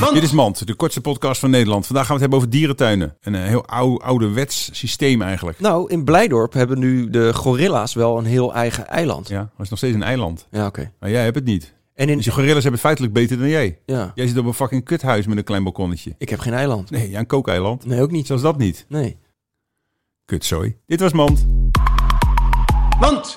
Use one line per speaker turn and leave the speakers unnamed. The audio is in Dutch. Man.
Dit is Mand, de kortste podcast van Nederland. Vandaag gaan we het hebben over dierentuinen. Een eh, heel oude, ouderwets systeem eigenlijk.
Nou, in Blijdorp hebben nu de gorilla's wel een heel eigen eiland. Ja,
Ja, maar het is nog steeds een eiland.
oké.
Maar jij hebt het niet.
En
Dus
in...
die gorillas hebben het feitelijk beter dan jij.
Ja,
Jij zit op een fucking kuthuis met een klein balkonnetje.
ik heb geen eiland.
Nee, ja, een kookeiland.
Nee, ook niet.
Zelfs dat niet.
Nee.
Kutzooi. Dit was Mand.
Want...